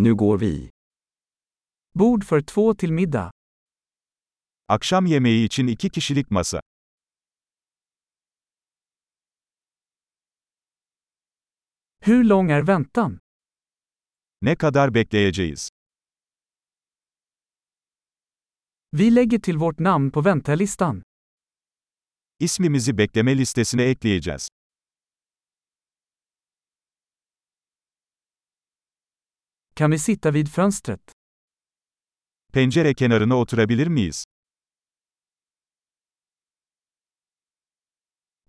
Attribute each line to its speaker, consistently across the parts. Speaker 1: Nu går vi.
Speaker 2: Bord för två till middag.
Speaker 3: Akşam yemeği için iki kişilik masa.
Speaker 2: Hur lång är väntan?
Speaker 3: Ne kadar bekleyeceğiz?
Speaker 2: Vi lägger till vårt namn på väntelistan.
Speaker 3: İsmimizi bekleme listesine ekleyeceğiz.
Speaker 2: Kan vi sitta vid fönstret?
Speaker 3: Pencere kenarına oturabilir miyiz?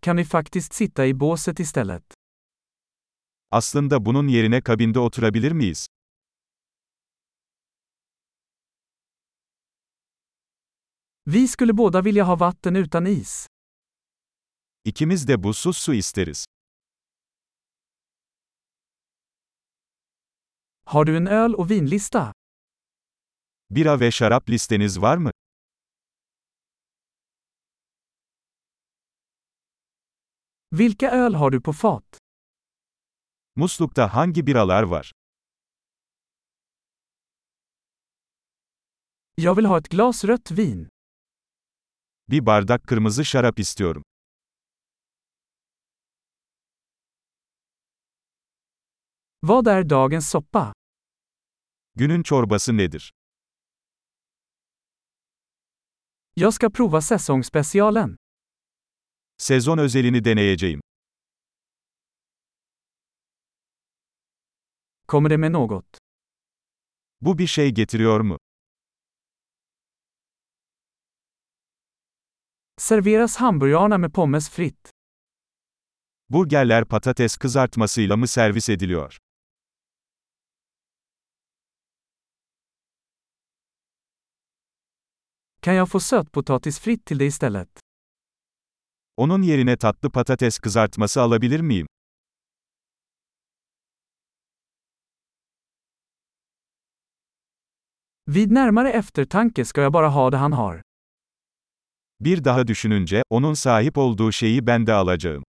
Speaker 2: Kan vi faktiskt sitta i båset istället?
Speaker 3: Aslında bunun yerine kabinde oturabilir miyiz?
Speaker 2: Vi skulle båda vilja ha vatten utan is.
Speaker 3: İkimiz de buzsuz su isteriz.
Speaker 2: Har du en öl och vinlista?
Speaker 3: Bira ve şarap listeniz var mı?
Speaker 2: Vilka öl har du på fat?
Speaker 3: Muslukta hangi biralar var?
Speaker 2: Jag vill ha ett glas rött vin.
Speaker 3: Bir bardak kırmızı şarap istiyorum.
Speaker 2: Vad är dagens soppa?
Speaker 3: Günün çorbası nedir?
Speaker 2: Jag ska prova säsongsspecialen.
Speaker 3: Sezon özelini deneyeceğim.
Speaker 2: Kommer det med något?
Speaker 3: Bu bir şey getiriyor mu?
Speaker 2: Serveras hamburgarna med pommes fritt?
Speaker 3: Burgerler patates kızartmasıyla mı servis ediliyor?
Speaker 2: Kan jag få sötpotatis fritt till det istället?
Speaker 3: Onun yerine tatlı patates kızartması alabilir miyim?
Speaker 2: Vid närmare eftertanke ska jag bara ha det han har.
Speaker 3: Bir daha düşününce, onun sahip olduğu şeyi ben de alacağım.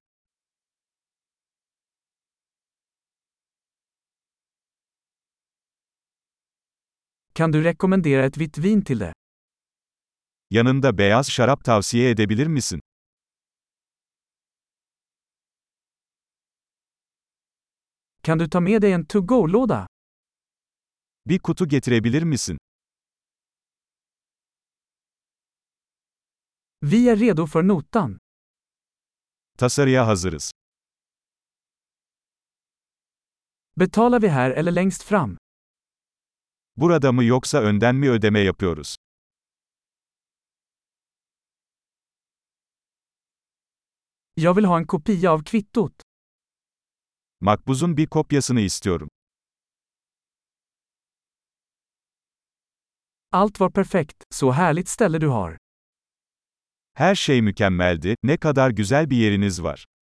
Speaker 2: Kan du rekommendera ett vitt vin till det?
Speaker 3: Yanında beyaz şarap tavsiye edebilir misin?
Speaker 2: Kan du ta med dig en to-go-låda?
Speaker 3: Bir kutu getirebilir misin?
Speaker 2: Vi är redo för notan.
Speaker 3: Tasarıya hazırız.
Speaker 2: Betalar vi här eller längst fram?
Speaker 3: Burada mı yoksa önden mi ödeme yapıyoruz?
Speaker 2: Jag vill ha en kopia av kvittot.
Speaker 3: Makbuzun bir kopyasını istiyorum.
Speaker 2: Allt var perfekt, så härligt ställe du har.
Speaker 3: Her şey mükemmeldi, ne kadar güzel bir yeriniz var.